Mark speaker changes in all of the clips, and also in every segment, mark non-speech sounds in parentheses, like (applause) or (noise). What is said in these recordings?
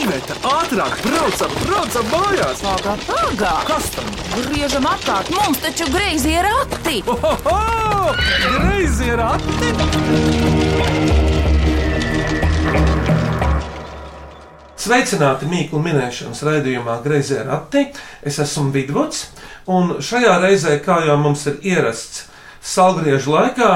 Speaker 1: Iveta, ātrāk, braucam, braucam mājās!
Speaker 2: Pagā, pagā!
Speaker 1: Kas tam?
Speaker 2: Griežam apkārt, mums taču greizi ir akti!
Speaker 1: Ohoho! Greizi ir akti!
Speaker 3: Sveicināti mīklu minēšanas raidījumā Greizē Rati. Es esmu Vidvuds, un šajā reizē, kā jau mums ir ierasts salgriežu laikā,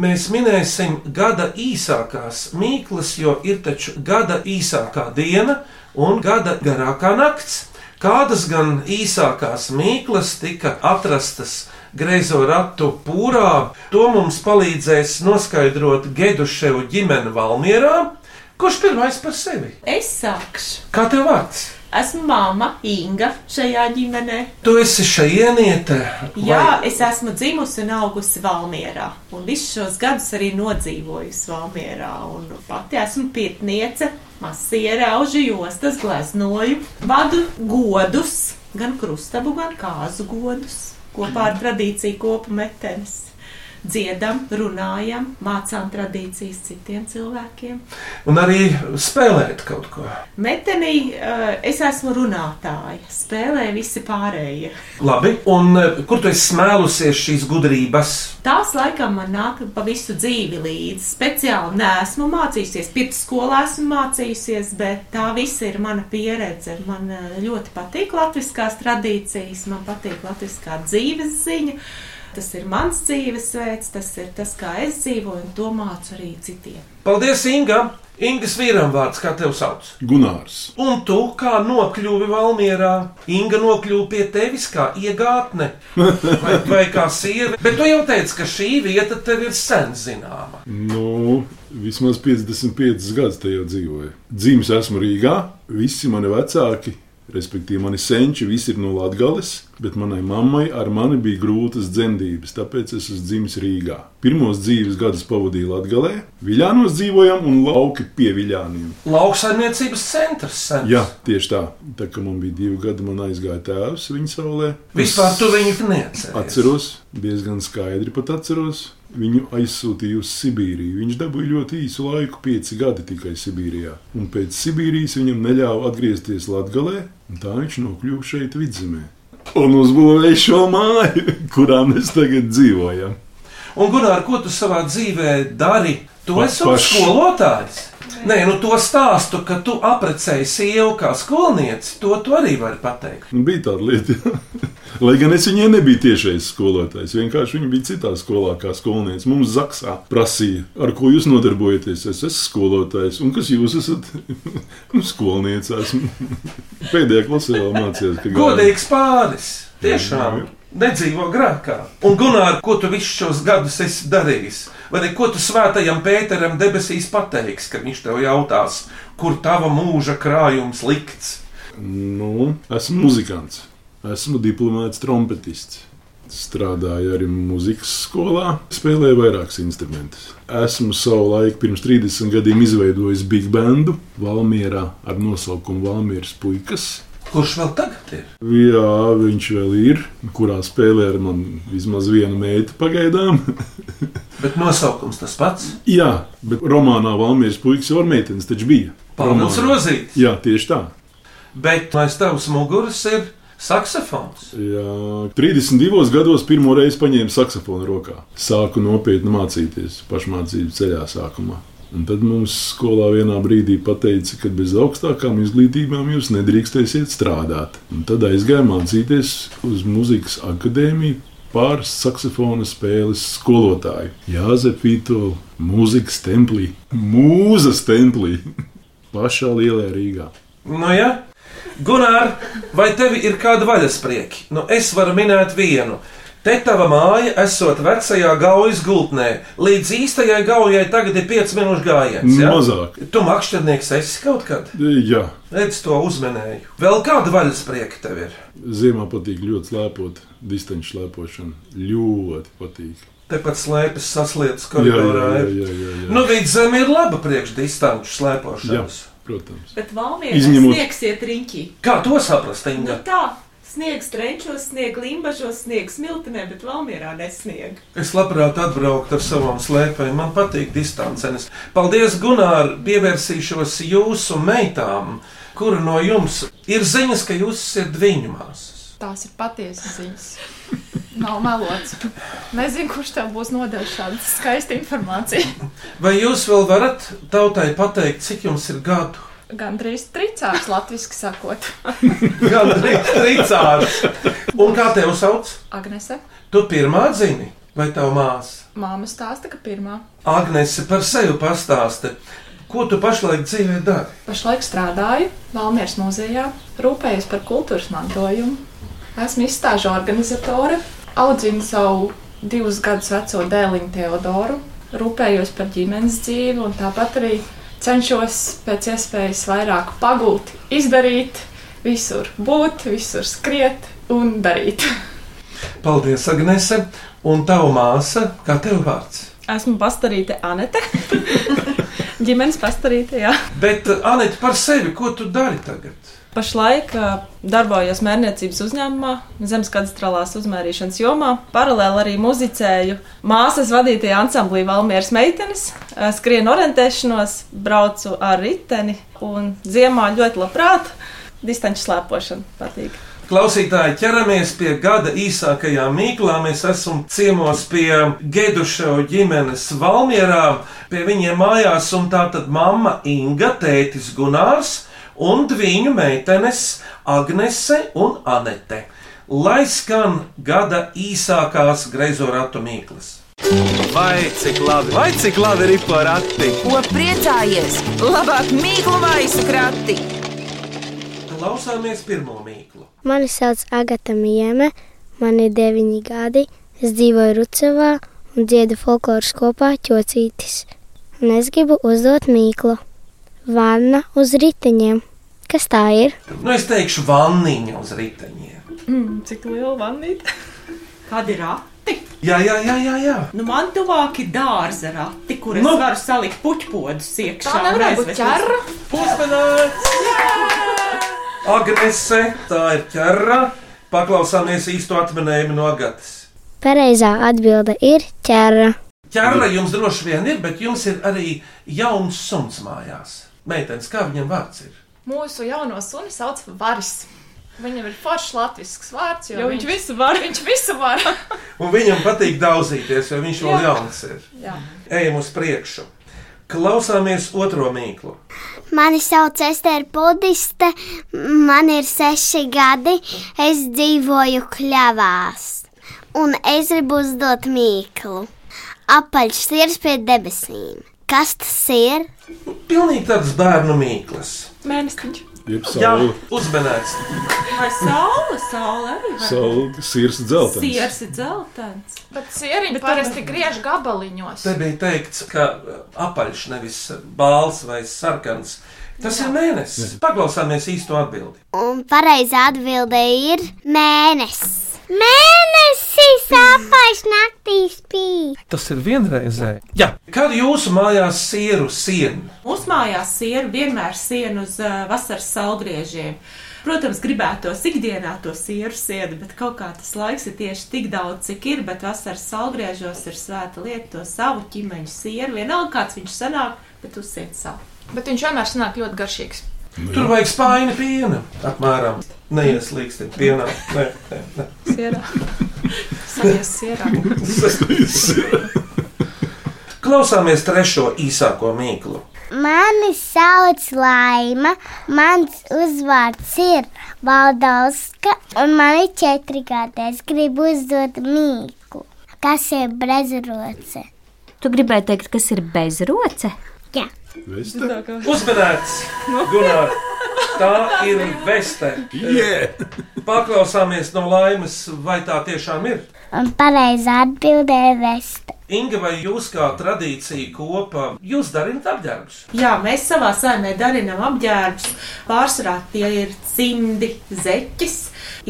Speaker 3: mēs minēsim gada īsākās mīklas, jo ir taču gada īsākā diena un gada garākā nakts. Kādas gan īsākās mīklas tika atrastas greizo ratu pūrā, to mums palīdzēs noskaidrot Geduševu ģimeni Valmierā. Kurš pirmais par sevi?
Speaker 4: Es sākšu.
Speaker 3: Kā tev vārds?
Speaker 4: Esmu māma Inga šajā ģimenē.
Speaker 3: Tu esi šajieniete. vai-
Speaker 4: Jā, es esmu dzimusi un augusi Valmjerā. Un visus šos gadus arī nodzīvojusi Valmjerā. Un Pati esmu pietniece, masīra, auži jostas, gleznoju, vadu godus, gan krustabu, gan kāzu godus. Kopā ar tradīciju kopu metenes. Dziedam, runājam, mācām tradīcijas citiem cilvēkiem.
Speaker 3: Un arī spēlēt kaut ko.
Speaker 4: Metenī eh, es esmu runātāja, spēlē visi pārējie.
Speaker 3: Labi, un eh, kur tu esi smēlusies šīs gudrības?
Speaker 4: Tās laikam man nāk pa visu dzīvi līdzi. Speciāli nesmu mācījusies, pirmsskolā esmu mācījusies, bet tā visa ir mana pieredze. Man eh, ļoti patīk latviskās tradīcijas, man patīk latviskā dzīves ziņa. Tas ir mans dzīvesveids, tas ir tas, kā es dzīvoju, un to mācu arī citiem.
Speaker 3: Paldies, Inga! Ingas vīram vārds, kā tev sauc?
Speaker 5: Gunārs.
Speaker 3: Un tu kā nokļuvi Valmjerā? Inga nokļuva pie tevis kā iegātne vai, vai kā sieva. Bet tu jau teici, ka šī vieta tev ir sen zināma.
Speaker 5: Nu, vismaz 55 gadus tajā dzīvoju. Dzīves esmu Rīgā, visi mani vecāki. Respektīvi, mani senči visi ir no Latvijas, bet manai mammai ar mani bija grūtas dzemdības, tāpēc es esmu dzimis Rīgā. Pirmos dzīves gadus pavadīju Latvijā, Viļānos dzīvojam un lauki pie Viļāniem.
Speaker 3: Lauksaimniecības centrs sen.
Speaker 5: Jā, tieši tā. Tā kā man bija divi gadi, man aizgāja tēvs viņa saulē.
Speaker 3: Vispār tu viņu neatceries.
Speaker 5: Atceros, diezgan skaidri pat atceros. Viņu aizsūtīja uz Sibīriju. Viņš dabūja ļoti īsu laiku, pieci gadi tikai Sibīrijā. Un pēc Sibīrijas viņam neļāva atgriezties Latvijā, un tā viņš nokļuva šeit vidzemē. Un uzbūvēja šo māju, (laughs) kurā mēs tagad dzīvojam.
Speaker 3: Un, Gunār, ko tu savā dzīvē dari? Tu
Speaker 5: Pa-
Speaker 3: esi
Speaker 5: paš-
Speaker 3: skolotājs. Nē, nu to stāstu, ka tu apprecēji sievu kā skolnieci, to tu arī vari pateikt.
Speaker 5: Nu, bija tāda lieta, jā. (laughs) Lai gan es viņai nebiju tiešais skolotājs. Vienkārši viņa bija citā skolā, kā skolnieks. Mums Zaksā prasīja, ar ko jūs nodarbojaties. Es esmu skolotājs, un kas jūs esat? (laughs) nu, skolniece esmu. (laughs) Pēdējā klasē vēl mācījos, ka gāju.
Speaker 3: Godīgs pāris, tiešām.
Speaker 5: Jā.
Speaker 3: Nedzīvo grāmatā. Un, Gunār, ko tu visus šos gadus esi darījis? Vai ne, ko tu svētajam Pēteram debesīs pateiksi, kad viņš tev jautās, kur tava mūža krājums likts?
Speaker 5: Nu, esmu muzikants, esmu diplomēts trompetists. Strādāju arī muzikas skolā, spēlēju vairākus instrumentus. Esmu savu laiku, pirms 30 gadiem, izveidojis big bandu Valmjerā ar nosaukumu Valmjeras puikas.
Speaker 3: Kurš vēl tagad ir?
Speaker 5: Jā, viņš vēl ir, kurā spēlē ar mani vismaz vienu meitu pagaidām. (laughs)
Speaker 3: Bet nosaukums tas pats.
Speaker 5: Jā, bet romānā Valmjeras puikas jau ar meitenes taču bija.
Speaker 3: Palmas
Speaker 5: Romānā.
Speaker 3: rozīt.
Speaker 5: Jā, tieši tā.
Speaker 3: Bet aiz tavas muguras ir saksofons.
Speaker 5: Jā, 32 gados pirmo reizi paņēmu saksofonu rokā. Sāku nopietni mācīties pašmācību ceļā sākumā. Un tad mums skolā vienā brīdī pateica, ka bez augstākām izglītībām jūs nedrīkstēsiet strādāt. Un tad aizgāju mācīties uz muzikas akadēmiju pār saksofona spēles skolotāju Jāzepīto mūzikas templī, mūzas templī, (laughs) pašā lielajā Rīgā.
Speaker 3: Nu, ja? Gunār, vai tev ir kāda vaļasprieki? Nu, es varu minēt vienu. Te tava māja, esot vecajā gaujas gultnē, līdz īstajai gaujai tagad ir 5 minūšu gājiens. Ja?
Speaker 5: Mazāk.
Speaker 3: Tu makšķernieks esi kaut kad?
Speaker 5: Jā,
Speaker 3: Redz to uzmanēju. Vēl kāda vaļasprieka tev ir?
Speaker 5: Ziemā patīk ļoti slēpot, distanču slēpošana. Ļoti patīk.
Speaker 3: Tepat slēpes saslietas
Speaker 5: jā,
Speaker 3: koridorā.
Speaker 5: jā,
Speaker 3: ir.
Speaker 5: jā, jā, jā.
Speaker 3: Nu, vidzem ir laba priekšdistanču
Speaker 5: jā
Speaker 3: slēpošanas.
Speaker 5: protams.
Speaker 4: Bet valmīri
Speaker 5: Izņemot-
Speaker 4: sniegs iet riņķī.
Speaker 3: Kā to saprast, Inga?
Speaker 4: Nu tā, Sniegs trenčos, sniegs limbažos, sniegs smiltenē, bet Valmjerā nesnieg.
Speaker 3: Es labprāt atbrauktu ar savām slēpēm, man patīk distancenes. Paldies, Gunār, pievērsīšos jūsu meitām, kura no jums ir ziņas, ka jūs esat viņu māsas.
Speaker 6: Tās ir patiesas ziņas. Nav melots. Nezinu, kurš tev būs nodevis šādu skaistu informāciju.
Speaker 3: Vai jūs vēl varat tautai pateikt, cik jums ir gadu? (laughs)
Speaker 6: Gan drīz tricāts, latviešu sakot,
Speaker 3: Gan trīcārs. Un kā tev sauc?
Speaker 6: Agnese.
Speaker 3: Tu pirmā zini, vai tava māsa?
Speaker 6: Māma stāsta, ka pirmā
Speaker 3: Agnese par sevi pastāsti, ko tu pašlaik dzīvē dari.
Speaker 6: pašlaik strādāju Valmieras muzejā, rūpējos par kultūras mantojumu. Esmu izstāžu organizatore, audzinu savu divus gadus veco dēliņu Teodoru, rūpējos par ģimenes dzīvi un tāpat arī cenšos pēc iespējas vairāk pagūt, izdarīt, visur būt, visur skriet un darīt.
Speaker 3: Paldies, Agnese, un tava māsa, kā tev vārds?
Speaker 7: Esmu pastarīta Anete.
Speaker 4: (laughs)
Speaker 7: Ģimenes pastarīta, jā.
Speaker 3: Bet, uh, Anita, par sevi, ko tu dari tagad?
Speaker 7: Pašlaik ā, darbojos mērniecības uzņēmumā, zemes kadastrālās uzmērīšanas jomā. Paralēli arī muzicēju māsas vadītajā ansamblī Valmieras meitenes, ā, skrienu orientēšanos, braucu ar riteni un ziemā ļoti labprāt distanču slēpošanu patīk.
Speaker 3: Klausītāji, ķeramies pie gada īsākajā mīklā. Mēs esam ciemos pie Geduševu ģimenes Valmjerā, pie viņiem mājās, un tā tad mamma Inga, tētis Gunārs un viņu meitenes Agnese un Anete. Lai skan gada īsākās greizo ratu mīklas.
Speaker 1: Vai cik labi, vai cik labi ir porati?
Speaker 2: Ko priecājies? Labāk mīklu maisu krati!
Speaker 3: Klausāmies pirmo mīklu.
Speaker 8: Mani sauc Agata Mieme, man ir deviņi gadi. Es dzīvoju Rucavā un dziedu folkloras kopā ķocītis. Un es gribu uzdot mīklu. Vanna uz riteņiem. Kas tā ir?
Speaker 3: Nu, es teikšu, vanniņa uz riteņiem.
Speaker 7: Mm, (laughs) cik liela vanīte?
Speaker 4: Kad ir rati?
Speaker 3: Jā, jā, jā, jā. jā.
Speaker 4: Nu, man tuvāk ir dārza rati, kur es
Speaker 3: Nu.
Speaker 4: nu. varu salikt puķpodus iekšā.
Speaker 6: Tā nevar būt ķerra.
Speaker 3: Uzmanīts! Agnese, tā ir ķerra. Paklausāmies īsto atminējumu no Agatas.
Speaker 8: Pareizā atbilde ir ķēra.
Speaker 3: Ķerra jums droši vien ir, bet jums ir arī jauns suns mājās. Meitenes, kā viņam vārds ir?
Speaker 6: Mūsu jauno suni sauc par Varis. Viņam ir foršs latviešu vārds, jo,
Speaker 7: Jo viņš visu var.
Speaker 6: viņš visu
Speaker 7: (laughs)
Speaker 6: var.
Speaker 3: Un viņam patīk daudzīties, jo viņš vēl jauns ir.
Speaker 6: Jā.
Speaker 3: Ejam uz priekšu. Klausāmies otro mīklu.
Speaker 8: Mani sauc Ester Budiste, man ir seši gadi. Es dzīvoju kļavās, un es gribu uzdot mīklu. Apaļš ir pie debesīm. Kas tas ir?
Speaker 3: Pilnīgi tāds bērnu mīklis.
Speaker 7: Mēnesiņš.
Speaker 5: Jeb
Speaker 3: Jā,
Speaker 5: saule,
Speaker 3: uzmanīts.
Speaker 4: Vai saule, saule arī var?
Speaker 5: saule sirds dzeltens.
Speaker 4: Siers ir dzeltens.
Speaker 6: Bet sēriņš parasti griež gabaliņos.
Speaker 3: Te bija teikts, ka uh, apaļš nevis balts vai sarkans. Tas ir mēnesis. Paklausāmies īsto atbildi.
Speaker 8: Un pareizā atbilde ir mēnesis. Mēnesis apaļš naktī spīd.
Speaker 3: Tas ir vienreizē. Jā. Kad jūsu mājās sieru sienu?
Speaker 4: Mūsu mājās sēra vienmēr siena uz ā, vasaras salgriežiem. Protams, gribētos ikdienā to sieru sēdi, bet kaut kā tas laiks ir tieši tik daudz, cik ir. Bet vasaras salgriežos ir svēta lieta, to savu ķīmeņu sieru. Vienalga, kāds viņš sanāk, bet uzsiet savu.
Speaker 6: Bet viņš vienmēr sanāk ļoti garšīgs.
Speaker 3: Tur vajag spaini piena. Apmēram. Neieslīgstiet pienā. Nē, nē, nē.
Speaker 7: Sierā.
Speaker 6: (laughs) Sajies sierā.
Speaker 3: Klausāmies trešo īsāko mīklu.
Speaker 8: Mani sauc Laima, mans uzvārds ir Valdauska, un man ir četri gadi. Es gribu uzdot mīklu. Kas ir breziroce?
Speaker 9: Tu gribēji teikt, kas ir bezroce?
Speaker 8: Jā,
Speaker 5: Veste?
Speaker 3: Uzmanīts, Gunār! Tā ir veste.
Speaker 5: Yeah!
Speaker 3: Paklausāmies no laimes, vai tā tiešām ir.
Speaker 8: un pareizā atbildē ir vesta.
Speaker 3: Inga, vai jūs kā tradīcija kopā, jūs darinat apģērbus?
Speaker 4: Jā, mēs savā saimē darinām apģērbus. Pārsvarā tie ir cimdi, zeķis.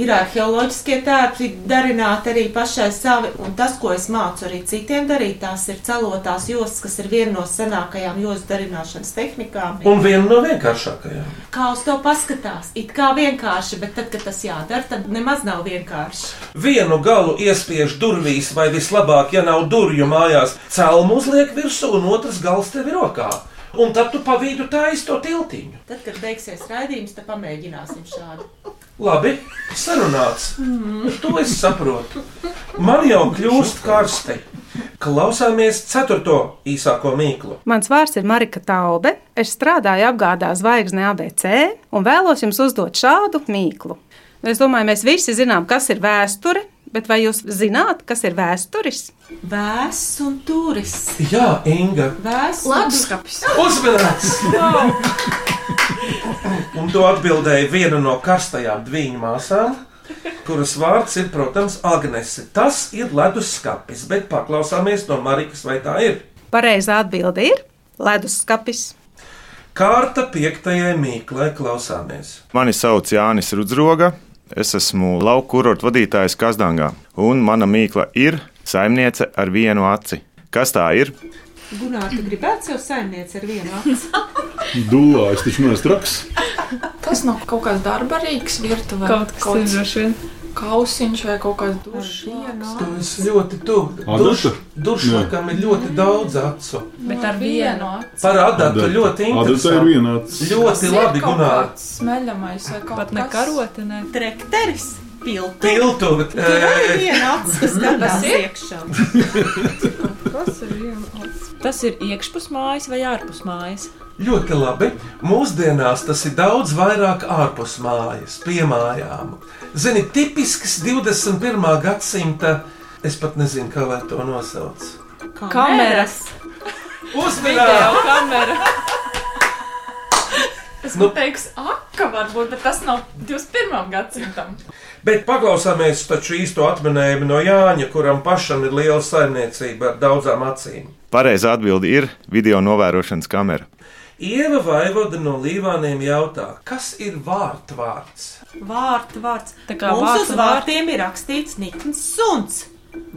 Speaker 4: Ir arheoloģiskie tērpi darināti arī pašai savi, un tas, ko es mācu arī citiem darīt, tās ir celotās jostas, kas ir viena no senākajām jostu darināšanas tehnikām.
Speaker 3: Un viena no vienkāršākajām.
Speaker 4: Kā uz to paskatās? It kā vienkārši, bet tad, kad tas jādara, tad nemaz nav vienkārši.
Speaker 3: Vienu galu iespiež durvīs, vai vislabāk, ja nav durvju mājās, celmu uzliek virsū, un otrs gals tev ir rokā. Un tad tu pa vidu taisīsi to tiltiņu.
Speaker 4: Tad, kad beigsies raidījums, tad pamēģināsim šādu.
Speaker 3: Labi, sarunāts. To es saprotu. Man jau kļūst karsti. Klausāmies ceturto īsāko mīklu.
Speaker 10: Mans vārds ir Marika Taube. Es strādāju apgādā zvaigznē ABC un vēlos jums uzdot šādu mīklu. Es domāju, mēs visi zinām, kas ir vēsture, bet vai jūs zināt, kas ir vēsturis?
Speaker 4: Vēs un turis.
Speaker 3: Jā, Inga,
Speaker 4: Vēs un Ah! turis.
Speaker 6: Leduskapis.
Speaker 3: uzmanīgs! (laughs) Un to atbildēja viena no karstajām dviņu māsām, kuras vārds ir, protams, Agnese. Tas ir leduskapis, bet paklausāmies no Marikas, vai tā ir.
Speaker 10: Pareizā atbilde ir leduskapis.
Speaker 3: Kārta piektajai mīklai klausāmies.
Speaker 11: Mani sauc Jānis Rudzroga. Es esmu lauku kurorta vadītājs Kazdangā. Un mana mīkla ir saimniece ar vienu aci. Kas tā ir?
Speaker 4: Gunār, tu gribētu sev saimnieci ar
Speaker 6: (laughs)
Speaker 4: vienu acu?
Speaker 5: Dulājas taču nav straks.
Speaker 6: Tas nav kaut kāds darbarīgs virtuvē.
Speaker 7: Kaut kas ir droši vien.
Speaker 6: kausiņš vai kaut kāds dušies.
Speaker 3: Tu esi ļoti tuvu.
Speaker 5: Adata? Jā.
Speaker 3: Dušmakam ir ļoti daudz acu.
Speaker 7: Bet ar vienu.
Speaker 3: Par adatu ļoti
Speaker 5: Adata ir
Speaker 3: interesanti.
Speaker 5: vienāds.
Speaker 3: Ļoti labi, Gunār.
Speaker 6: Smeļamais vai kaut
Speaker 7: Pat
Speaker 6: kas
Speaker 7: ne karote, ne.
Speaker 4: Trekteris,
Speaker 6: (laughs)
Speaker 4: piltu.
Speaker 3: Piltu, bet,
Speaker 4: Tur arī
Speaker 3: eh,
Speaker 4: viena acis, kas skatās iekšā.
Speaker 7: Tas ir iekšpus mājas vai ārpus mājas.
Speaker 3: Ļoti labi. Mūsdienās tas ir daudz vairāk ārpus mājas, pie mājām. Zini, tipisks 21. gadsimta, es pat nezinu, kā lai to nosauc.
Speaker 7: Kameras.
Speaker 3: Uzmanīgi!
Speaker 4: (laughs)
Speaker 7: kamera.
Speaker 6: Es
Speaker 3: Nu.
Speaker 6: nu, teiktu, akka varbūt, bet tas nav 21. gadsimtam.
Speaker 3: Bet paklausāmies taču īsto atminējumu no Jāņa, kuram pašam ir liela saimniecība ar daudzām acīm.
Speaker 11: Pareizā atbilde ir video novērošanas kamera.
Speaker 3: Ieva Vaivoda no Līvāniem jautā, kas ir vārtvārds?
Speaker 4: Vārtu vārds.
Speaker 7: Tā kā
Speaker 4: Mums
Speaker 7: vārtu
Speaker 4: uz
Speaker 7: vārds.
Speaker 4: vārtiem ir rakstīts nikns suns.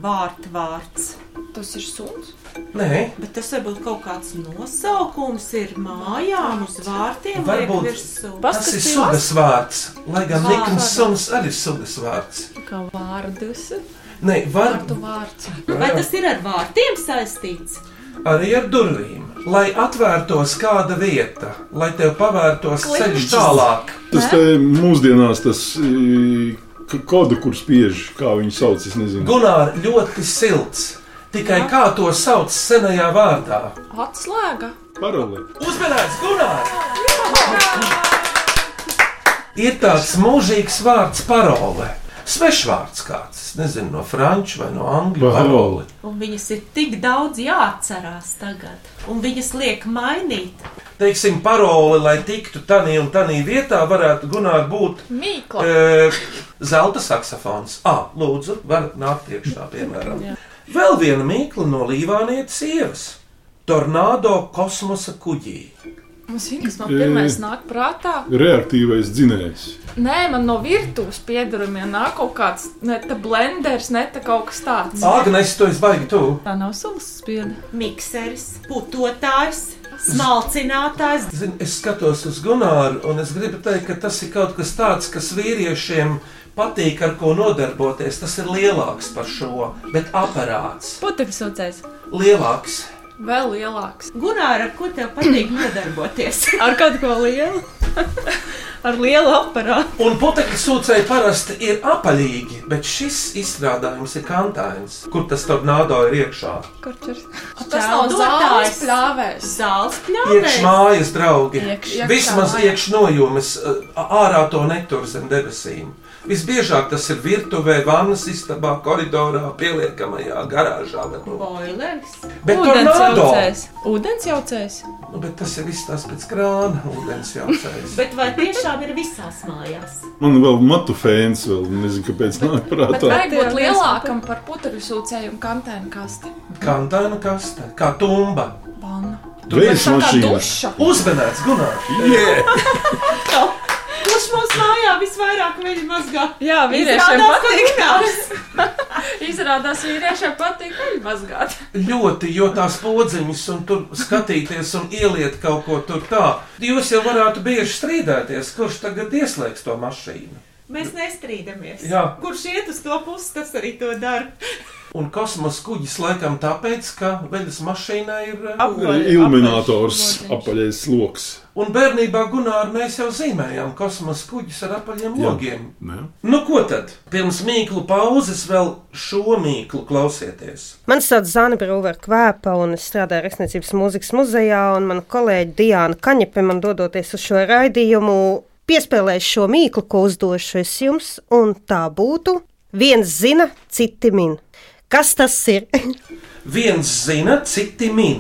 Speaker 4: Vārtu vārds.
Speaker 6: Tas ir suns.
Speaker 3: Nē,
Speaker 4: Bet tas varbūt kaut kāds nosaukums ir mājām uz vārtiem
Speaker 3: Varbūt.
Speaker 4: vai virsū.
Speaker 3: tas ir sugas vārds, lai gan Nikons Suns arī ir sugas vārds.
Speaker 7: Kā
Speaker 6: Vārdus.
Speaker 3: Nē, var,
Speaker 6: Vārdu vārds.
Speaker 4: Vai tas ir ar vārtiem saistīts?
Speaker 3: arī ar durvīm, lai atvērtos kāda vieta, lai tev pavērtos ceļš tālāk.
Speaker 5: Tas te mūsdienās tas i, k- kodu, kur spiež, kā viņi sauc, es nezinu.
Speaker 3: Gunār ļoti silts. Tikai kā to sauc senajā vārdā?
Speaker 6: Atslēga.
Speaker 5: Paralēli.
Speaker 3: Uzmanīgs, Gunār! Ir tāds mūžīgs vārds parole. Svešvārds kāds, es nezinu, no franču vai no angļu
Speaker 5: Parole.
Speaker 3: parole.
Speaker 4: Un viņas ir tik daudz jāatcerās tagad. Un viņas liek mainīt.
Speaker 3: Teiksim, parole, lai tiktu tādā un tādā vietā, varētu Gunār būt
Speaker 6: Mīkla.
Speaker 3: E, Zelta saksofons. Ah, lūdzu, var nākt iekšā, piemēram. Vēl viena mīkla no Līvānijas sievas. Tornado kosmosa kuģī.
Speaker 6: Mums ir kas man pirmais
Speaker 5: Ē.
Speaker 6: nāk prātā.
Speaker 5: Reaktīvais dzinējs.
Speaker 6: Nē, man no virtuves piedarumiem nāk kaut kāds ne tā blenders, ne tā kaut kas tāds.
Speaker 3: Agnēs, to es baigi tu.
Speaker 7: Tā nav sulas spieda.
Speaker 4: Mikseris, putotājs, smalcinātājs.
Speaker 3: Zini, es skatos uz Gunāru, un es gribu teikt, ka tas ir kaut kas tāds, kas vīriešiem patīk, ar ko nodarboties. Tas ir lielāks par šo, bet aparāts
Speaker 7: Putekļi saucējs.
Speaker 3: lielāks.
Speaker 6: Vēl lielāks.
Speaker 4: Gunār, ar ko tev patīk nodarboties? (laughs)
Speaker 7: Ar kaut ko lielu. Ar lielu aparātu.
Speaker 3: Un putekļi sūcēji parasti ir apaļīgi, bet šis izstrādājums ir kantains, kur tas tornado ir iekšā.
Speaker 7: Korčers.
Speaker 6: Tas nav
Speaker 4: Čeldotājs.
Speaker 6: zāles pļāvēs.
Speaker 4: Zāles pļāvēs.
Speaker 3: Iekšā mājas, draugi.
Speaker 7: Iekš-
Speaker 3: Vismaz
Speaker 6: iekšā mājā.
Speaker 3: iekšnojūmes, ārā to netur zem debesīm. Visbiežāk tas ir virtuvē, vannas istabā, koridorā, pieliekamajā garāžā. Bet, nu.
Speaker 4: Boilers.
Speaker 3: bet tornado!
Speaker 7: Ūdens jaucējs.
Speaker 3: Nu, bet tas ir viss tas pēc krāna, ūdens jautājums.
Speaker 4: Bet vai tiešām ir visās mājās?
Speaker 5: Man vēl matu fēns, vēl nezinu, kāpēc nāk
Speaker 6: Bet
Speaker 5: prātā.
Speaker 6: vajag būt lielākam par putekļu sūcēju un kantēnu kasti.
Speaker 3: Kantaina kaste, kā tumba.
Speaker 6: Banna.
Speaker 5: Vējas
Speaker 6: Tā kā
Speaker 5: mašīna.
Speaker 6: duša.
Speaker 3: Uzmanēts, Gunār!
Speaker 5: Yeah!
Speaker 4: Kurš mums mājā visvairāk viņa mazgā.
Speaker 7: Jā, vīriešiem patīk.
Speaker 6: Izrādās, vīriešiem patīk arī mazgāt.
Speaker 3: Ļoti, jo tās podziņas un tur skatīties un ieliet kaut ko tur tā. Jūs jau varētu bieži strīdēties, kurš tagad ieslēgs to mašīnu.
Speaker 4: Mēs nestrīdamies.
Speaker 3: Jā.
Speaker 4: Kurš iet uz to pusi, tas arī to dara.
Speaker 3: Un kosmosa kuģis laikam tāpēc, ka veļas mašīnā ir eh,
Speaker 5: Illuminators, apaļais lokus.
Speaker 3: Un bērnībā Gunārs mēs jau zīmējām kosmosa kuģis ar apaļiem
Speaker 5: Jā.
Speaker 3: logiem.
Speaker 5: Ne?
Speaker 3: Nu, ko tad? Pirms mīklu pauzes vēl šo mīklu klausieties.
Speaker 12: Mani sauc Zana Brūvera Kvēpa, un es strādāju Rakstniecības mūzikas muzejā, un mana kolēģe Diana Kaņepe man dodoties uz šo raidījumu piespēlēs šo mīklu, ko uzdošu es jums, un tā būtu viens zina, citi min. Kas tas ir? (laughs)
Speaker 3: Viens zina, citi min.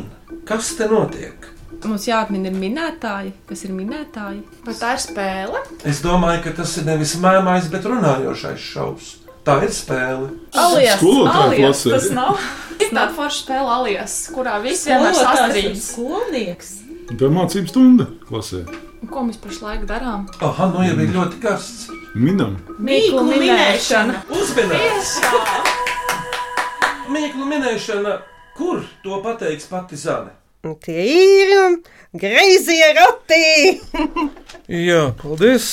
Speaker 3: Kas te notiek?
Speaker 7: Mums jāatmin ir minētāji, kas ir minētāji.
Speaker 6: Vai Nu, tā ir spēle?
Speaker 3: Es domāju, ka tas ir nevis mēmais, bet runājošais šovs. Tā ir spēle.
Speaker 6: Alias,
Speaker 3: Skolotāju
Speaker 6: alias,
Speaker 3: klasē.
Speaker 6: tas nav. Ir tāda forša spēle, alias, kurā viss vienmēr
Speaker 4: Skolotājs un
Speaker 6: sastrīdas. Skolnieks.
Speaker 5: Tā ir mācību stunda klasē.
Speaker 6: Ko mēs pašlaik darām?
Speaker 3: Aha, nu jau bija ļoti karsts.
Speaker 5: Minam,
Speaker 6: Mīklu minēšana.
Speaker 3: Uzmanības!
Speaker 6: Tiešām.
Speaker 3: Mīklu minēšana, kur to pateiks pati Zane?
Speaker 12: Un Tie ir greizie rati!
Speaker 3: Jā, paldies!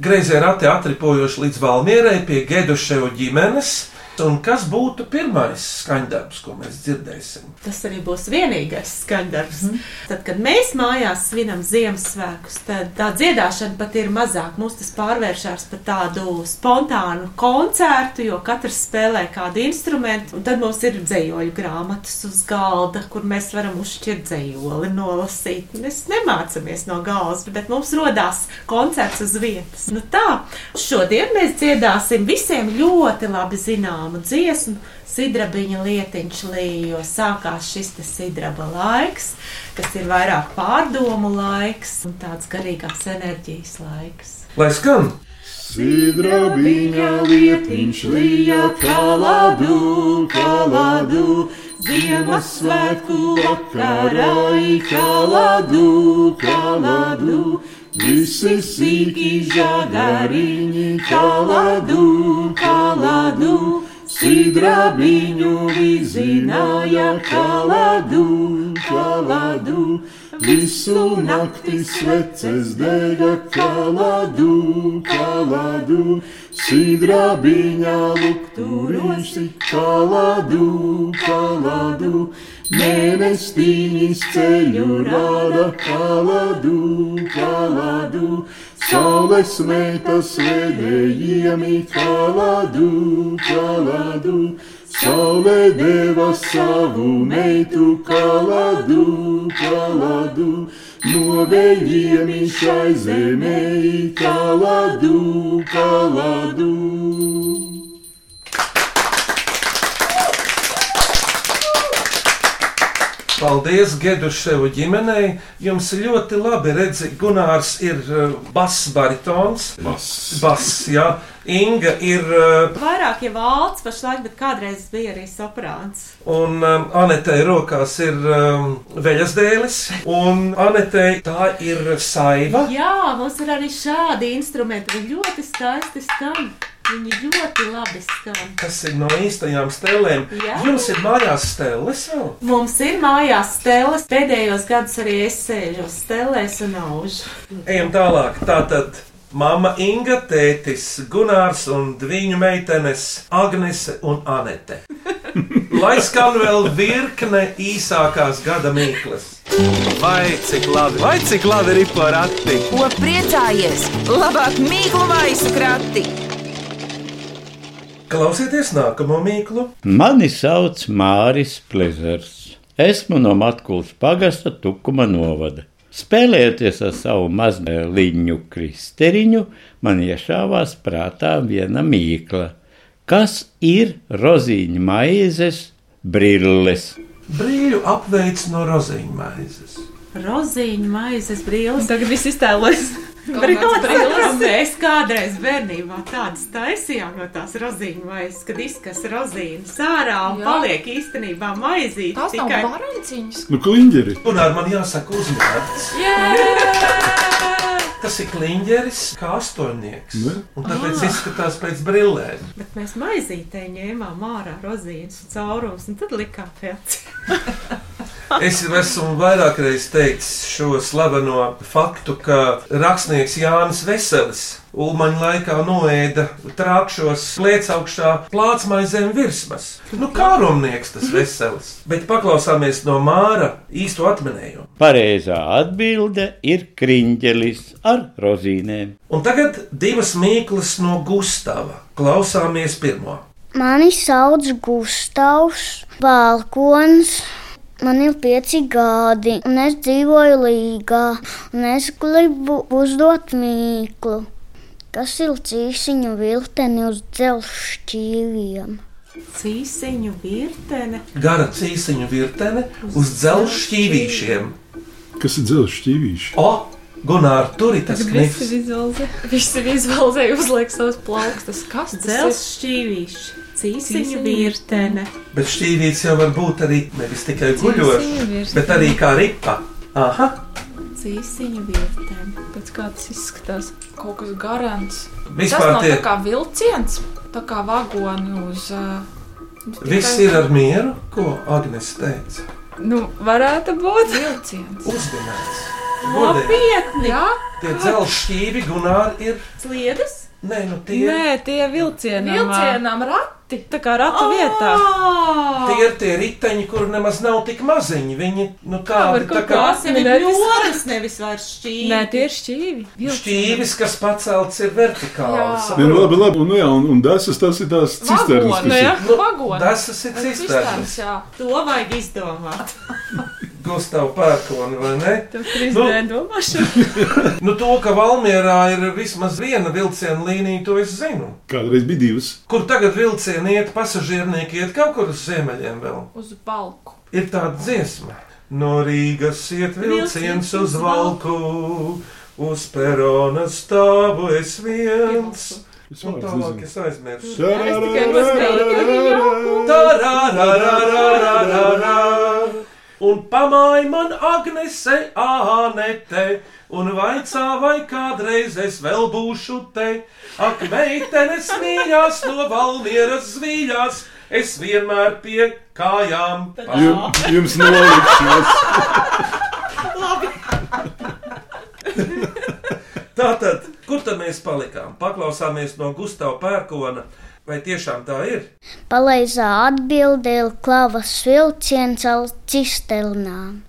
Speaker 3: Greizē rati atripojuši līdz Valmierai pie Geduševu ģimenes. Un kas būtu pirmais skaņdarbs, ko mēs dzirdēsim?
Speaker 4: Tas arī būs vienīgais skandarbs. Mm. Tad, kad mēs mājās svinam Ziemassvētkus, tad tā dziedāšana pat ir mazāk. Mums tas pārvēršas par tādu spontānu koncertu, jo katrs spēlē kādu instrumentu, un tad mums ir dzējoļu grāmatas uz galda, kur mēs varam uzšķirt dzējoli, nolasīt. Mēs nemācāmies no galvas, bet mums rodās koncerts uz vietas. Nu tā, šodien mēs dziedāsim visiem ļoti labi zināmu dziesmu sidrabiņa lietiņš līnija, jo sākās šis te sidraba laiks, kas ir vairāk pārdomu laiks un tāds garīgāks enerģijas laiks.
Speaker 3: Lai skan!
Speaker 5: Sidrabiņa
Speaker 4: lietiņš
Speaker 5: lija,
Speaker 4: kaladu, kaladu, Ziemassvētku vakarā i kaladu, kaladu, visi sīki žagariņi, kaladu, kaladu, sidrabiņu vizināja, kaladu, kaladu, visu nakti sveces dega, kaladu, kaladu, sidrabiņa lukturīši, kaladu, kaladu, mēnestīņas ceļu rāda, kaladu, kaladu. Saules meitas svētējiem i kaladu, kaladu, saule deva savu meitu kaladu, kaladu, no vējiem i šai zemē i kaladu, kaladu.
Speaker 3: Paldies Geduševu ģimenei. Jums ļoti labi redzi, Gunārs ir uh, bass baritons.
Speaker 5: Bass.
Speaker 3: Bass, jā. Inga ir uh,
Speaker 4: Vairāk jau valsts pašlaik, bet kādreiz bija arī soprāns.
Speaker 3: un um, Anetei rokās ir um, veļas dēlis. Un Anetei tā ir saiva.
Speaker 4: Jā, mums ir arī šādi instrumenti. Viņi ļoti skaisti skan. Viņi ļoti labi skan.
Speaker 3: Kas ir no īstajām stēlēm?
Speaker 4: Jā.
Speaker 3: Jums ir mājās stēles jau?
Speaker 4: Mums ir mājās stēles. Pēdējos gados arī es sēžu uz stēlēs un aužu.
Speaker 3: Ejam tālāk. Tātad mamma Inga, tētis Gunārs un viņu meitenes Agnese un Anete. Lai skan vēl virkne īsākās gada mīklas.
Speaker 1: Vai cik labi, vai cik labi ir porakti?
Speaker 2: Ko priecājies? Labāk mīklu maisu krati!
Speaker 3: Klausieties nākamo mīklu.
Speaker 13: Mani sauc Māris Plezers. Esmu no Matkulas pagasta Tukuma novada. Spēlējoties ar savu mazliņu kristeriņu, man iešāvās prātā viena mīkla. Kas ir rozīņu maizes brilles?
Speaker 3: Brīļu apveids no rozīņu maizes.
Speaker 4: Rozīņu maizes brīvs.
Speaker 7: Tagad viss iztēlojas.
Speaker 4: Brīlis. Mēs kādreiz bērnībā tādas taisījām no tās rozīņu maizes, kad izkas rozīnas ārā un
Speaker 6: Jā.
Speaker 4: paliek īstenībā maizīte.
Speaker 6: Tās nav
Speaker 4: tikai-
Speaker 6: baranciņas.
Speaker 5: nu kliņģeri.
Speaker 6: (laughs)
Speaker 3: Gunār, man jāsaka uzmanīgs.
Speaker 6: Jā!
Speaker 3: Tas ir kliņģeris, kā astoņnieks.
Speaker 5: Ne?
Speaker 3: Un tāpēc
Speaker 4: Ah.
Speaker 3: izskatās pēc brillēm.
Speaker 4: Bet mēs maizītē ņēmām ārā rozīnes un caurumus, un tad likām pēc.
Speaker 3: Es jau esmu vairāk reizes teicis šo slaveno faktu, ka rakstnieks Jānis Veselis Ulmaņa laikā noēda trāpšos plēc augšā plācmaizēm virsmas. Nu, kā romnieks tas Veselis. Bet paklausāmies no Māra īsto atminējumu.
Speaker 13: Pareizā atbilde ir kriņģelis ar rozīnēm.
Speaker 3: Un tagad divas mīklas no Gustava. Klausāmies pirmo.
Speaker 14: Mani sauc Gustavs Balkons. Man ir pieci gadi, un es dzīvoju Līgā. un Es gribu uzdot mīklu, kas ir cīsiņu vilteni uz dzelzceļiem.
Speaker 4: Cīsiņu virtene.
Speaker 3: Gara cīsiņu virtene uz dzelzceļa šķīvīšiem.
Speaker 5: Kas ir dzelzs šķīvīši?
Speaker 3: O, Gunār, tur ir tas
Speaker 6: Visi
Speaker 3: knips.
Speaker 6: vizualizē, visi vizualizē uzliek savus plaukstus. Kas tas ir?
Speaker 4: Dzelzs šķīvīšs, cīsiņu virtene.
Speaker 3: Bet šķīvīts jau var būt arī nevis tikai
Speaker 4: Cīsiņu
Speaker 3: guļošs,
Speaker 4: virtene.
Speaker 3: bet arī kā ripa. Aha,
Speaker 6: Cīsiņu virtēm. Pēc kā tas izskatās? Kaut kas garants.
Speaker 3: Vispār
Speaker 6: tas nav
Speaker 3: tie-
Speaker 6: tā kā vilciens, tā kā vagoni uz. ā,
Speaker 3: viss
Speaker 6: tikai-
Speaker 3: ir ar mieru, ko Agnēs teica.
Speaker 6: Nu, varētu būt vilciens.
Speaker 3: Uzmanīgs.
Speaker 4: Nopietni!
Speaker 6: Jā,
Speaker 3: Tie dzelzs šķīvi, Gunār, ir.
Speaker 4: Sliedas?
Speaker 3: Nē, nu tie,
Speaker 7: Nē, tie vilcienam,
Speaker 6: Vilcienam
Speaker 7: rati. Tā kā ratu vietā.
Speaker 3: tie ir tie riteņi, kur nemaz nav tik maziņi. Viņi nu, tādi tā kā
Speaker 4: Tās jau ir ļoras, nevis vairs šķīvi.
Speaker 7: Nē, tie ir šķīvi.
Speaker 3: šķīvis, kas pacelts ir vertikāli.
Speaker 4: Jā.
Speaker 5: Nē, nu,
Speaker 3: saproti?
Speaker 5: labi, labi, un, nu, jā, un, un desas tas ir tās cisternas, kas ir.
Speaker 3: Nu,
Speaker 6: Vagoni.
Speaker 3: Dasas ir cisternas.
Speaker 4: To vajag izdomāt.
Speaker 3: Gustav Pērkona, vai ne?
Speaker 7: Tev trīs D domāšana.
Speaker 3: (laughs) Nu, to, ka Valmjerā ir vismaz viena vilciena līnija, to es zinu.
Speaker 5: Kādreiz bija divas.
Speaker 3: Kur tagad vilcieni iet, pasažiernieki iet kaut kur uz ziemeļiem vēl.
Speaker 6: Uz balku.
Speaker 3: Ir tāda dziesma. No Rīgas iet vilciens
Speaker 6: Vilciens uz
Speaker 3: uz valku, uz perona stāvu es viens. Un tālāk es aizmirsu. Tararararararararā. Un pamāja man Agnese, Anete, un vaicā, vai kādreiz es vēl būšu te. Ak, meitenes mīļās, no valmieras zvīļās, es vienmēr pie kājām.
Speaker 5: Jum, jums nav likšanās.
Speaker 3: Tātad, kur tad mēs palikām? Paklausāmies no Gustavas Pērkona, vai tiešām tā ir?
Speaker 14: Pareizā atbilde ir klavas vilciens ar cisternām.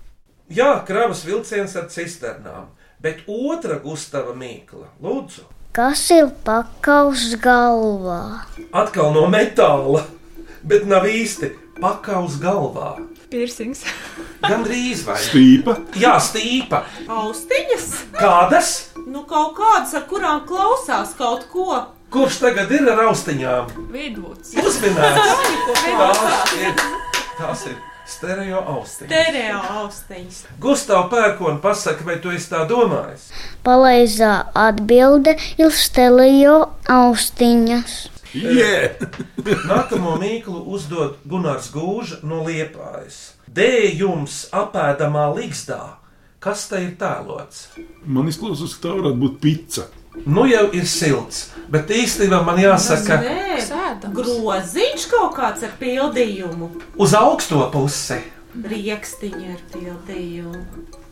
Speaker 3: Jā, kravas vilciens ar cisternām, bet otra Gustava mīkla, lūdzu,
Speaker 14: Kas ir pakaus galvā?
Speaker 3: atkal no metāla, bet nav īsti pakaus galvā.
Speaker 6: Piercings.
Speaker 3: Gan drīz vai
Speaker 5: Stīpa.
Speaker 3: Jā, stīpa.
Speaker 4: Austiņas?
Speaker 3: Kādas?
Speaker 4: Nu, kaut kādas, ar kurām klausās kaut ko.
Speaker 3: Kurš tagad ir ar austiņām?
Speaker 6: Vidus.
Speaker 3: Uzminēts! Tās ir,
Speaker 4: Vidus.
Speaker 3: tās ir stereo austiņas.
Speaker 4: Stereo austiņas.
Speaker 3: Gustav Pērkona pasaka, vai tu esi tā domājis?
Speaker 14: Pareizā atbilde ir stelio austiņas.
Speaker 3: Yeah. Nākamo mīklu uzdod Gunārs Gūžs no Liepājas. Dējums apēdamā ligzdā. Kas te ir tēlots?
Speaker 5: Man izklausās, ka tā varētu būt pica.
Speaker 3: Nu jau ir silts, bet īstenībā man jāsaka,
Speaker 4: Nē, groziņš kaut kāds ar pildījumu.
Speaker 3: uz augsto pusi,
Speaker 4: Riekstiņa ar pildījumu.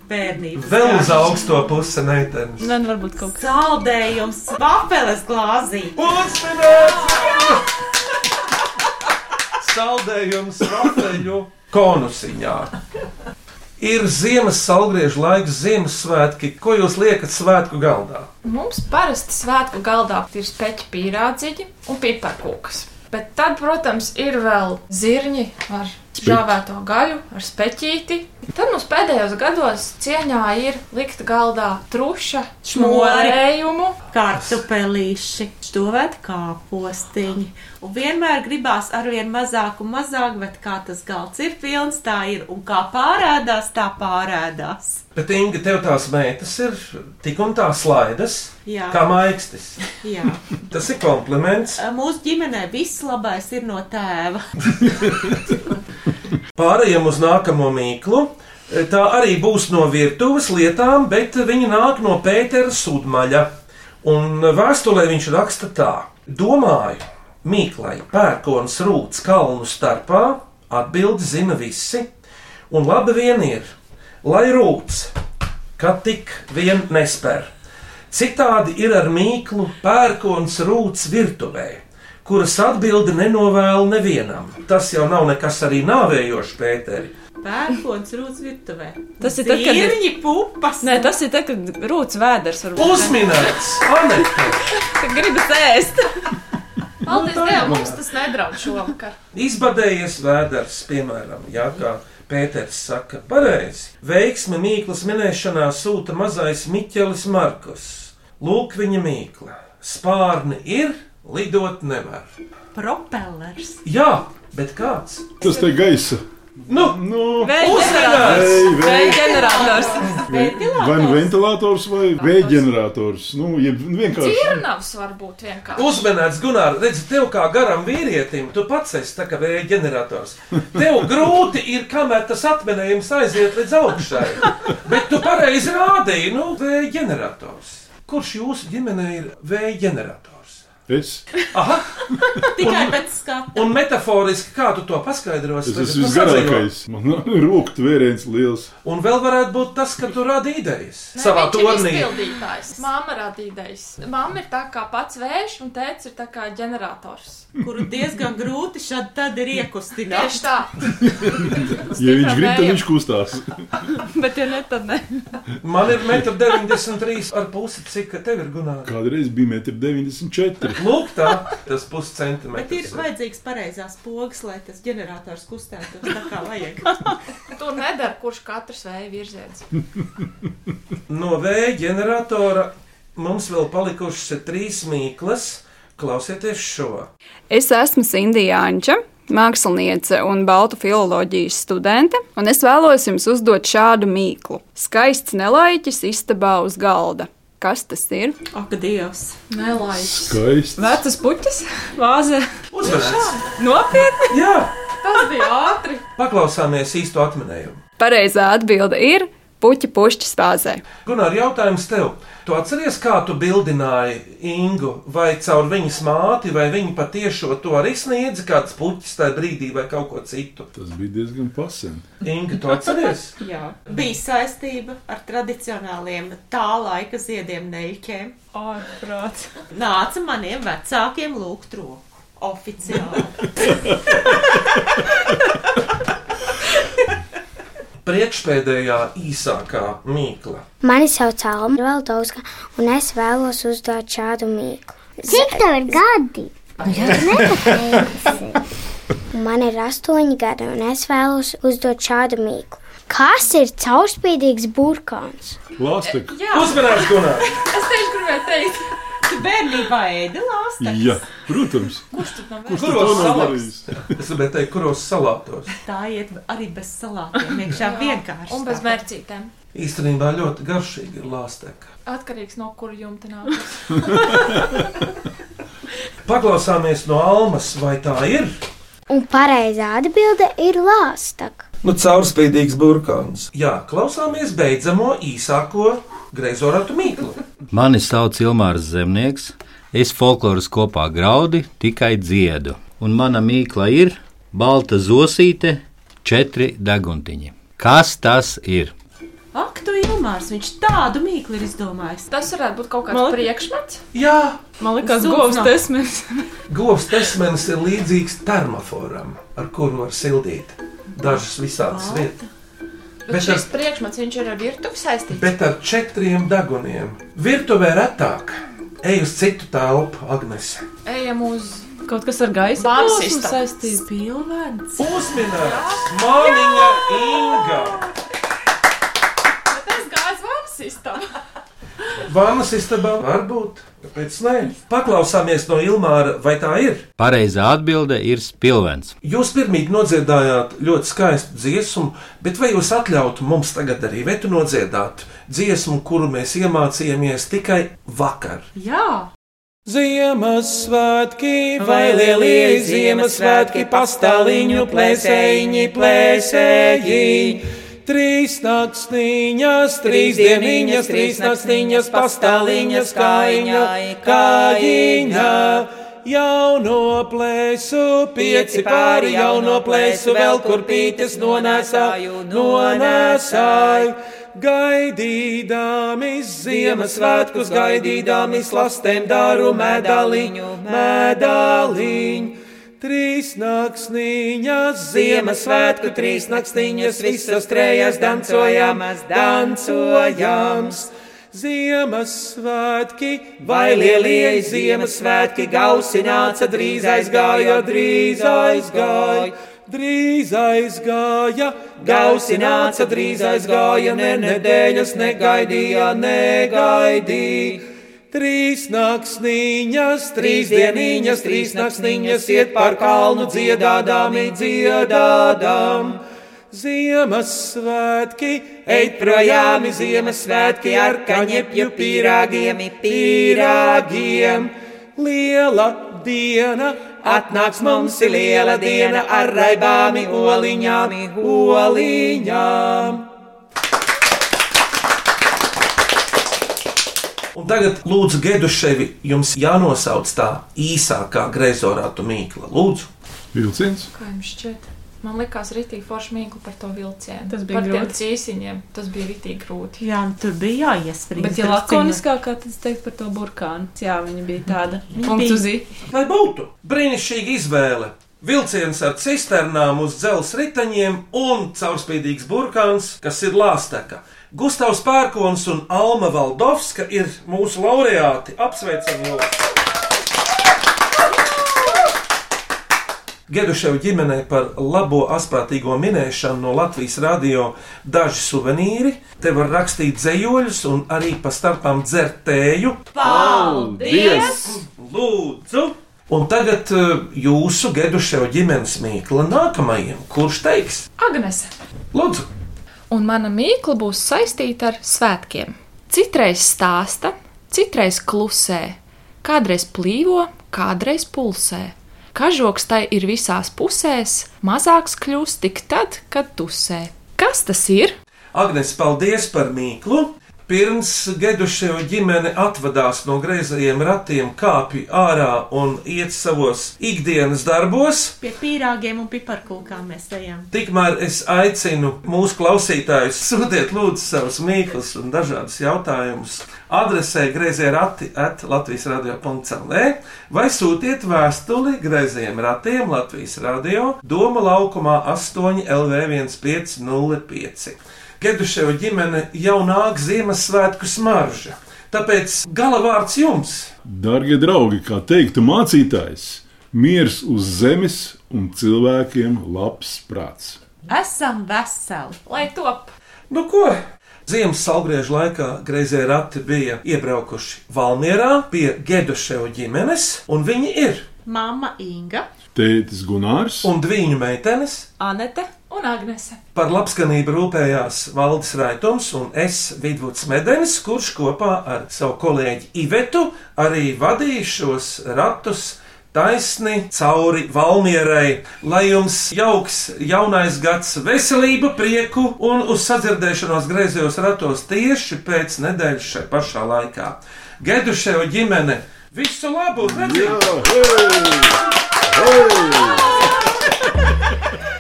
Speaker 4: Bērnības.
Speaker 3: vēl uz augsto pusi, meitene.
Speaker 6: Nu.
Speaker 4: Nē, varbūt kaut kas. Saldējums, vafeles glāzī.
Speaker 3: Uzmanīgs! Saldējums rafeļu konusiņā. Ir ziemas salgriežu laiks, Ziemassvētki. Ko jūs liekat svētku galdā?
Speaker 6: Mums parasti svētku galdā ir speķi pīrādziņi un piparkūkas. Bet tad, protams, ir vēl zirņi ar žāvēto gaļu, ar speķīti. Tad mums pēdējos gados cieņā ir likt galdā truša, šmorējumu.
Speaker 4: Kartupelīši, šķovēti kāpostiņi. Un vienmēr gribās ar vien mazāk un mazāk, bet kā tas galds ir pilns, tā ir. Un kā pārēdās, tā pārēdās.
Speaker 3: Bet, Inga, tev tās meitas ir tik un tā slaidas,
Speaker 4: Jā.
Speaker 3: kā maikstis.
Speaker 4: Jā.
Speaker 3: Tas ir kompliments.
Speaker 4: Mūsu ģimenē viss labais ir no tēva.
Speaker 3: Pārējiem uz nākamo mīklu. E, Tā arī būs no virtuves lietām, bet viņa nāk no Pētera Sudmaļa. Un vēstulē viņš raksta tā: Domāju, Mīklai, pērkons rūts kalnu starpā, atbildi zina visi, un labi vien ir, lai rūts, kad tik vien nesper. Citādi ir ar mīklu pērkons rūts virtuvē, kuras atbildi nenovēlu nevienam. Tas jau nav nekas arī nāvējošs Pēteri.
Speaker 4: Pērkons rūts virtuvē.
Speaker 7: Tas ir tad, kad ir-
Speaker 4: Zirņi pupas.
Speaker 7: Nē, tas ir tad, kad rūts vēders var
Speaker 3: Uzminēts!
Speaker 7: Kad gribas ēst!
Speaker 6: (laughs) Paldies
Speaker 7: tā
Speaker 6: Dievam,
Speaker 3: ir.
Speaker 6: mums tas nedraud šovakar.
Speaker 3: Izbadējies vēders, piemēram, jā, kā Pēters saka, pareizi. Veiksmi mīklas minēšanā sūta mazais Miķelis Markus. Lūk, viņa mīkla. Spārni ir, lidot nevar.
Speaker 4: Propellers.
Speaker 3: Jā, bet kāds?
Speaker 5: Tas te gaisa.
Speaker 3: Nu,
Speaker 5: (laughs) nu.
Speaker 4: Vēja
Speaker 5: ģenerators. Vēja, vēja. Vēja
Speaker 7: ģenerators.
Speaker 5: Vai nu ventilators vai vēja ģenerators. Nu, jeb vienkārši.
Speaker 6: Cirnavs var būt vienkārši.
Speaker 3: Uzmanīgs, Gunār, redz, tev kā garam vīrietim, tu pats esi tā kā vēja ģenerators. Tev grūti ir, kamēr tas atminējums aiziet līdz augšai. Bet tu pareizi rādīji, nu, vēja ģenerators. Kurš jūsu ģimenē ir vēja ģenerators?
Speaker 5: Es.
Speaker 4: Tikai pēc skata.
Speaker 3: Un metaforiski, kā tu to paskaidrosi?
Speaker 5: Tas
Speaker 3: tagad
Speaker 5: esmu
Speaker 3: tu sadzīvo.
Speaker 5: visgarākais. Man (laughs) rūkt vēriens liels.
Speaker 3: Un vēl varētu būt tas, ka tu radi idejas
Speaker 6: Nē,
Speaker 3: savā
Speaker 6: viņš ir
Speaker 3: tornī.
Speaker 6: izpildītājs. Māma radītājs. Māma ir tā kā pats vējš un tēvs ir tā kā ģenerators.
Speaker 4: Kuru diezgan grūti šad tad ir iekustināt.
Speaker 5: (laughs)
Speaker 6: Tieši tā.
Speaker 5: Ja viņš grib, tad viņš kustās.
Speaker 7: (laughs) Bet, ja ne, tad ne.
Speaker 3: Man ir 1,93 m ar pusi, cik ka tev ir gunāra.
Speaker 5: Kādreiz bija 1,94 m.
Speaker 3: Lūk, tā, tas
Speaker 4: Bet ir
Speaker 3: puscentimetrs.
Speaker 4: vajadzīgs pareizās pogas, lai tas ģenerators kustētos tā kā
Speaker 7: (laughs)
Speaker 4: vajag.
Speaker 6: Tur nedara, kurš katrs vēja virziens. Nu,
Speaker 3: No vēja ģeneratora mums vēl palikušas ir trīs mīklas. Klausieties šo!
Speaker 15: Es esmu Sindija Anča, māksliniece un baltu filozofijas studente, un es vēlos jums uzdot šādu mīklu. Skaists nelaiķis istabā uz galda. Kas tas ir?
Speaker 4: Ak, Dievs!
Speaker 6: Nelaiķis!
Speaker 5: Skaists.
Speaker 7: Vecas puķis, vāze.
Speaker 3: Uzmanīgs.
Speaker 7: Nopietni!
Speaker 3: Jā!
Speaker 6: Tas bija ātri!
Speaker 3: Paklausāmies īsto atminējumu.
Speaker 15: Pareizā atbilde ir puķa pušķa spāzē.
Speaker 3: Gunār, jautājums tev. Tu atceries, kā tu bildināji Ingu, vai caur viņas māti, vai viņa patiešo to arī sniedza kāds puķis tajā brīdī, vai kaut ko citu?
Speaker 5: Tas bija diezgan pasen.
Speaker 3: Inga, tu atceries?
Speaker 4: Jā. Bija saistība ar tradicionāliem tā laika ziediem, neļķiem. Ārprāts. Nāca maniem vecākiem lūgt roku. Oficiāli.
Speaker 7: (laughs)
Speaker 3: Priekšpēdējā īsākā mīkla.
Speaker 8: Mani sauc Alma Valdovska, un es vēlos uzdot šādu mīklu. Cik tev ir gadi? Man ir astoņi gadi, un es vēlos uzdot šādu mīklu. Kas ir caurspīdīgs burkāns?
Speaker 5: Lāstek.
Speaker 3: E,
Speaker 6: Jā.
Speaker 3: Uzmanīgs, Gunār!
Speaker 6: Es tieši gribēju teikt,
Speaker 4: tu bērnībā ēdi lāstu.
Speaker 5: Jā, protams.
Speaker 4: Kurš tur nav?
Speaker 5: Kurš to nav darījis?
Speaker 3: Es gribēju teikt, kuros salātos.
Speaker 4: Tā iet arī bez salātiem. Iekšā
Speaker 6: Jā.
Speaker 4: vienkārši.
Speaker 6: Un bez mērcītēm.
Speaker 3: Īstenībā ļoti garšīgi ir lāsteka.
Speaker 6: Atkarīgs no kura jumta nākas.
Speaker 3: Paklausāmies no Almas, vai tā ir?
Speaker 8: Un pareizā atbilde ir lāstak.
Speaker 1: Nu, caurspīdīgs burkāns.
Speaker 3: Jā, klausāmies beidzamo īsāko greizorātu mīklu.
Speaker 16: Mani sauc Ilmārs Zemnieks, es folkloras kopā graudi tikai dziedu, un mana mīkla ir balta zosīte, četri deguntiņi. Kas tas ir?
Speaker 4: Ak, tu Ilmārs, viņš tādu mīklu ir izdomājis.
Speaker 6: Tas varētu būt kaut kāds
Speaker 4: Man
Speaker 6: Man...
Speaker 4: li-
Speaker 6: priekšmets.
Speaker 3: Jā,
Speaker 7: Man liekas,
Speaker 6: Zudz
Speaker 7: govs
Speaker 6: nav.
Speaker 7: desmit.
Speaker 3: Govs tesmenis ir līdzīgs termoforam, ar kuru var sildīt dažas visādas lietas.
Speaker 6: Balta. Bet,
Speaker 3: Bet
Speaker 6: bet šis
Speaker 3: ar-
Speaker 6: priekšmets viņš ir ar virtuvi saistīts.
Speaker 3: Bet ar četriem deguniem. Virtuvē retāk ej uz citu telpu, Agnes.
Speaker 6: Ejam uz
Speaker 7: kaut kas ar gaisa
Speaker 6: Barsista.
Speaker 7: plūsmu saistīts. Spilvens.
Speaker 3: Uzminēts! Māniņa Inga!
Speaker 6: Bet es gāju uz varas istabu.
Speaker 3: Vānas istabā varbūt, kāpēc nē? Paklausāmies no Ilmāra, vai tā ir?
Speaker 16: Pareizā atbilde ir spilvens.
Speaker 3: Jūs pirmie nodziedājāt ļoti skaistu dziesmu, bet vai jūs atļautu mums tagad arī vētu nodziedāt dziesmu, kuru mēs iemācījāmies tikai vakar?
Speaker 4: Jā.
Speaker 1: Ziemassvētki,
Speaker 17: Vai lielie Ziemassvētki,
Speaker 1: pastāliņu
Speaker 17: plēsējiņi, plēsēji, Trīs nakstiņas, trīs dieniņas, trīs nakstiņas, pastāliņas, kājiņā, kājiņā. Jauno plēsu, pieci pāri jauno plēsu, vēl kur pītes nonāsāju, nonāsāju. Gaidīdami Ziemassvētkus, gaidīdami slastēm daru medaļiņu, medaļiņu. Trīs naktsniņas, Ziemassvētku trīs naktsniņas, visas trejas dancojamas, dancojams. Ziemassvētki, vai lielie Ziemassvētki, gausi nāca drīz aizgāja, drīz aizgāja. Drīz aizgāja, gausi nāca, drīz aizgāja, ne nedēļas negaidīja, negaidīja. Trīs naktsniņas, trīs dieniņas, trīs naktsniņas iet pār kalnu dziedādāmi, dziedādām. Ziemassvētki, ej projām, Ziemassvētki ar kaņepju pīrāgiem, pīrāgiem. Liela diena, atnāks mums ir liela diena ar raibāmi oliņām, oliņām.
Speaker 3: Un tagad, lūdzu, Geduševi, jums jānosauc tā īsākā grezorāta mīkla. Lūdzu,
Speaker 5: Vilciens.
Speaker 6: Kā jums šķiet? Man liekas, rītīgi forši mīklu par to vilcienu.
Speaker 7: Tas bija
Speaker 6: par
Speaker 7: grūti.
Speaker 6: tiem cīsiņiem. Tas bija rītīgi grūti.
Speaker 4: Jā, nu, tur bija jāiespriež.
Speaker 7: Bet, ja lakoniskākā, tad es teiktu par to burkānu. Jā, viņa bija tāda. Punkts uz i.
Speaker 3: lai būtu brīnišķīga izvēle. Vilciens ar cisternām uz dzelzceļa riteņiem un caurspīdīgs burkāns, kas ir lāsteka. Gustavs Pērkons un Alma Valdovska ir mūsu laureāti. Apsveicam jūs! Geduševu ģimenei par labo astprātīgo minēšanu no Latvijas radio daži suvenīri. Te var rakstīt dzējoļus un arī pa starpām dzert tēju.
Speaker 17: Paldies!
Speaker 3: Lūdzu! Un tagad eh, jūsu Geduševu ģimenes mīkla nākamajam, kurš teiks?
Speaker 6: Agnese.
Speaker 3: Lūdzu!
Speaker 6: Un mana mīkla būs saistīta ar svētkiem. Citreiz stāsta, citreiz klusē, kādreiz plīvo, kādreiz pulsē. Kažoks tai ir visās pusēs, mazāks kļūst tik tad, kad tusē. Kas tas ir?
Speaker 3: Agnēs, paldies par mīklu! Pirms Geduševu ģimene atvadās no greizajiem ratiem, kāpj ārā un iet savos ikdienas darbos.
Speaker 4: Pie pīrāgiem un piparkūkām mēs ejam.
Speaker 3: Tikmēr es aicinu mūsu klausītājus sūtiet lūdzu savus mīklus un dažādus jautājumus. Adresē grazē rati at Latvijas radio.cl vai sūtiet vēstuli grazējiem ratiem Latvijas radio Doma laukumā 8 LV1505. Geduševa ģimene jau nāk Ziemassvētku smarža, tāpēc gala vārds jums!
Speaker 5: Darbie draugi, kā teiktu mācītājs, miers uz zemes un cilvēkiem labs prāts.
Speaker 4: Esam veseli.
Speaker 6: Lai top!
Speaker 3: Nu, ko? Ziemas salgriežu laikā greizie rati bija iebraukuši Valmjerā pie Geduševu ģimenes, un viņi ir
Speaker 4: Māma Inga,
Speaker 5: Tētis Gunārs
Speaker 3: un viņu meitenes.
Speaker 7: Anete
Speaker 6: un Agnese.
Speaker 3: Par labskanību rūpējās Valdis Raitons un es Vidvuds Medenis, kurš kopā ar savu kolēģi Ivetu arī vadīja šos ratus taisni cauri Valmierai. Lai jums jauks jaunais gads, veselību, prieku un uz sadzirdēšanos griezījos ratos tieši pēc nedēļas šai pašā laikā. Geduševu ģimene visu labu! Redzi!
Speaker 17: Hey!